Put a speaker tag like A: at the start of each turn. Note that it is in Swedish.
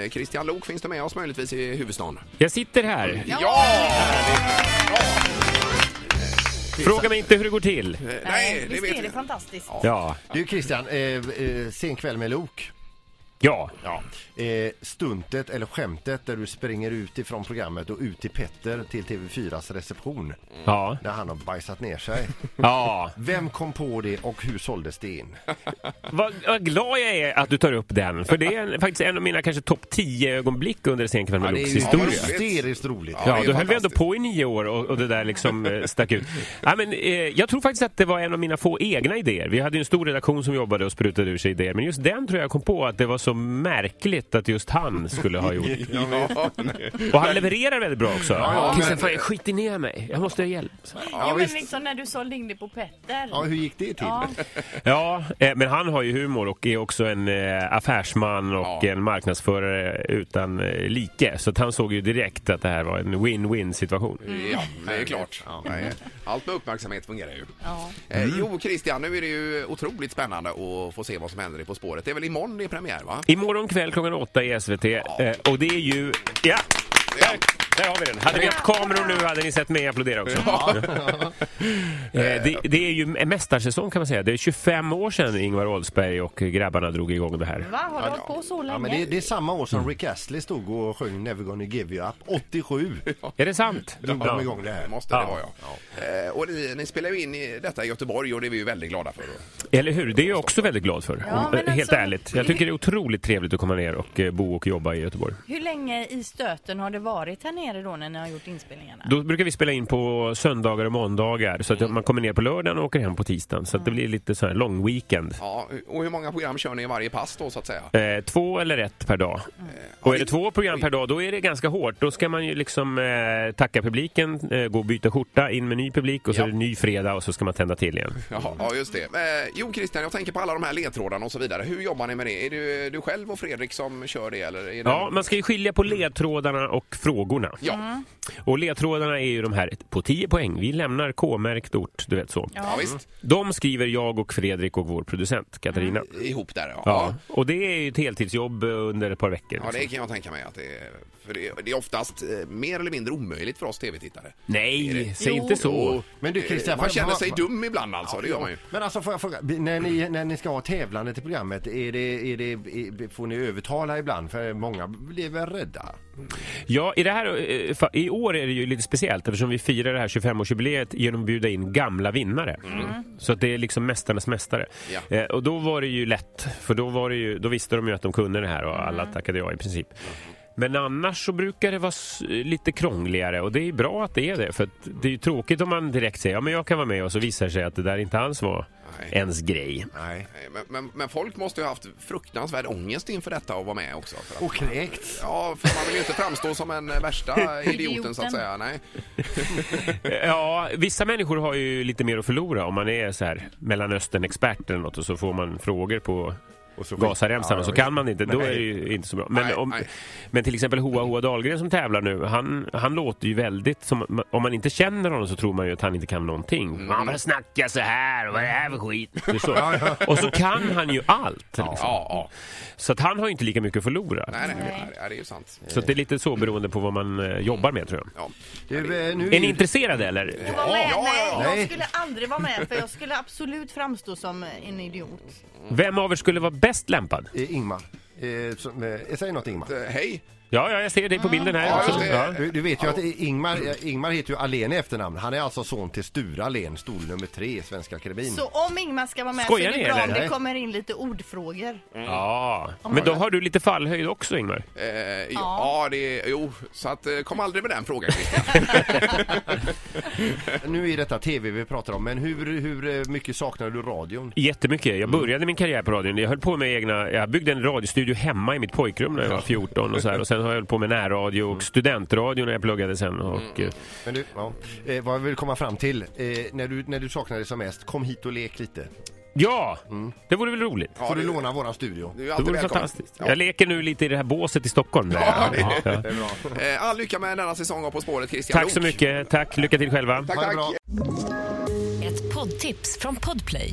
A: Eh, Christian Lok finns du med oss möjligtvis i huvudstaden?
B: Jag sitter här.
A: Ja!
B: Fråga mig inte hur det går till.
A: Eh,
C: Nej,
A: Nej, det
C: visst
A: vet
C: är det
A: vi.
C: fantastiskt?
B: Ja.
D: Du Christian, eh, eh, sen kväll med Lok.
B: Ja.
D: Ja. Eh, stuntet eller skämtet där du springer ut ifrån programmet och ut till Petter till TV4s reception.
B: Ja.
D: Där han har bajsat ner sig.
B: Ja.
D: Vem kom på det och hur såldes det in?
B: Vad, vad glad jag är att du tar upp den. För det är faktiskt en av mina kanske topp 10 ögonblick under Sen kväll med
D: Ja, det är
B: Looks
D: ju
B: historia.
D: hysteriskt roligt.
A: Ja.
B: Ja,
A: det är
B: då höll vi ändå
A: fantastiskt.
B: på i nio år och, och det där liksom eh, stack ut. Nej, men, eh, jag tror faktiskt att det var en av mina få egna idéer. Vi hade ju en stor redaktion som jobbade och sprutade ur sig idéer. Men just den tror jag kom på att det var så märkligt att just han skulle ha gjort.
A: Ja, nej.
B: Och han levererar väldigt bra också.
A: ja,
B: Christian,
A: men-
B: fan, jag skiter ner mig. Jag måste ha hjälp.
C: jo, men
D: visst.
C: liksom när du sålde in det på Petter.
D: Ja, hur typ? gick det till?
C: Ja.
B: Ja, eh, men han har ju humor och är också en eh, affärsman och
A: Ja.
B: en marknadsförare utan eh, like. Så att han såg ju direkt att det här var en win-win situation.
A: Ja, det är klart. Nej, Allt med uppmärksamhet fungerar ju.
C: Ja.
A: Eh,
B: Mm.
A: Jo, Christian, nu är det ju otroligt spännande att få se vad som händer i På spåret. Det är väl imorgon det är premiär, va?
B: Imorgon kväll klockan åtta i SVT eh, och det är ju... Ja! Där, där har vi den! Hade vi haft kameror nu hade ni sett mig applådera också. Eh, det, det är ju en mästarsäsong kan man säga. Det är 25 år sedan Ingvar Oldsberg och grabbarna drog igång det här.
C: Va, har du hållit på så länge?
D: Ja, men det, det är samma år
A: Mm.
D: som Rick Astley stod och sjöng Never gonna give you up, 87.
B: Är det sant?
D: Drog de igång det
A: Det
D: här.
A: måste det
B: Ja.
A: vara, ja. Eh, Och ni, ni spelar ju in i detta i Göteborg och det är vi ju väldigt glada för.
B: Eller hur? Det är jag också väldigt glad för.
C: Ja, men
B: Eh, Helt
C: alltså-
B: ärligt. Jag tycker det är otroligt trevligt att komma ner och eh, bo och jobba i Göteborg.
C: Hur länge i stöten har det varit här nere då när ni har gjort inspelningarna?
B: Då brukar vi spela in på söndagar och måndagar så att
A: Mm.
B: man kommer ner på lördagen och åker hem på tisdagen. Så att det blir lite så här lång weekend.
A: Ja, och hur många program kör ni i varje pass då, så att säga?
B: Eh, två eller ett per dag.
A: Eh,
B: Och är det två program per dag, då är det ganska hårt. Då ska man ju liksom eh, tacka publiken, eh, gå och byta skjorta, in med ny publik och så
A: Ja. Mm.
B: är det ny fredag och så ska man tända till igen.
A: Jaha, ja, just det. Eh, jo, Christian, jag tänker på alla de här ledtrådarna och så vidare. Hur jobbar ni med det? Är du, du själv och Fredrik som kör det? Eller är det
B: Ja, man ska ju skilja på ledtrådarna och frågorna.
A: ja.
C: Mm.
B: Och ledtrådarna är ju de här på 10 poäng. Vi lämnar K-märkt ort, du vet så.
A: ja, visst.
B: De skriver jag och Fredrik och vår producent Katarina.
A: Mm. Ihop där, ja.
B: Ja, och det är ju ett heltidsjobb under ett par veckor.
A: Ja, det
B: liksom.
A: kan jag tänka mig. Att det, är, för det, det är oftast eh, mer eller mindre omöjligt för oss tv-tittare.
B: Nej, säg
C: Jo.
B: inte så.
A: Och,
D: Men du,
A: eh,
D: Christian,
A: man
D: vad-
A: känner
D: vad-
A: sig
D: vad-
A: dum ibland alltså, det gör man ju.
D: Men alltså får jag fråga, när ni, när ni ska ha tävlande till programmet, är det, är det, är, får ni övertala ibland? För många blir väl rädda?
B: Ja, i, det här, eh, fa- i år är det ju lite speciellt eftersom vi firar det här 25-årsjubileet genom att bjuda in gamla vinnare. Så att det är liksom Mästarnas mästare.
A: Mm. Ja.
B: Eh, och då var det ju lätt, för då, var det ju, då visste de ju att de kunde det här och alla
A: Mm.
B: tackade ja i princip. Men annars så brukar det vara s- lite krångligare och det är bra att det är det. För att det är ju tråkigt om man direkt säger ja men jag kan vara med och så visar det sig att det där inte alls var
A: Nej.
B: ens grej.
D: Nej.
A: Eh, Men, men, men folk måste ju ha haft fruktansvärd ångest inför detta och vara med också. För att,
D: Och kräkts.
A: Ja, för man vill ju inte framstå som den eh, värsta idioten så att säga. Nej.
B: Ja, vissa människor har ju lite mer att förlora om man är så här Mellanöstern-expert eller något och så får man frågor på
D: så skit-
B: Gazaremsan
D: Ja,
B: och så
D: ja,
B: kan man inte. Då
D: Nej.
B: är det ju inte så bra. Men,
A: Nej,
B: om,
A: nej.
B: men till exempel Hoa Hoa Dahlgren som tävlar nu, han, han låter ju väldigt som... Om man inte känner honom så tror man ju att han inte kan någonting.
A: Mm.
B: Man bara snackar så här och vad är det här för skit? Det är så. Och så kan han ju allt. Liksom.
A: Ja, ja.
B: Så att han har ju inte lika mycket att förlora.
A: Nej, nej, nej, det är ju sant.
B: Så att det är lite så beroende på vad man eh, jobbar med tror jag.
A: Ja.
D: Du, eh, nu
B: Är ni intresserade eller?
C: Jag var med.
A: Ja, ja, ja.
C: Nej,
D: Nej.
C: jag skulle aldrig vara med för jag skulle absolut framstå som en idiot.
B: Vem av er skulle vara bäst lämpad?
D: eh, Ingmar, eh, som, eh, säg något Ingmar.
A: Eh, Hej!
B: Ja, ja jag ser dig på bilden här
A: Mm. Ja,
B: också.
A: just det. Mm.
B: Ja.
D: Du, du vet ju att Ingmar, eh, Ingmar heter ju Alén i efternamn. Han är alltså son till Sture Alén, stol nummer tre i Svenska Akademin.
C: Så om Ingmar ska vara med
B: Skojar
C: så
B: ni,
C: är det bra om
B: eller?
C: det
D: Nej.
C: kommer in lite ordfrågor.
B: ja, men då har du lite fallhöjd också Ingmar.
A: Eh, jo, ja, det, jo, så att, eh, kom aldrig med den frågan Christian.
D: Nu är detta tv vi pratar om, men hur, hur eh, mycket saknar du radion?
B: Jättemycket. Jag
A: Mm.
B: började min karriär på radion. Jag höll på med egna... Jag byggde en radiostudio hemma i mitt pojkrum när jag var 14 och så här. Och sen har jag hållit på med närradio
A: Mm.
B: och studentradio när jag pluggade sen. Och, eh,
D: Men du, ja. eh, vad jag vill komma fram till, eh, när, du, när du saknar det som mest, kom hit och lek lite.
B: ja, det vore väl roligt.
A: Mm. Ja,
D: Får du
A: det-
D: låna våran studio?
A: Du är
B: Det
A: alltid
B: vore
A: välkommen.
B: fantastiskt.
A: Ja.
B: Jag leker nu lite i det här båset i Stockholm. Ja, ja.
A: Eh, All lycka med denna säsong av På spåret Christian
B: Tack så
A: Lok.
B: mycket. Tack. Lycka till själva.
A: Tack,
D: Ha det
A: tack.
D: bra.
E: Ett poddtips från Podplay.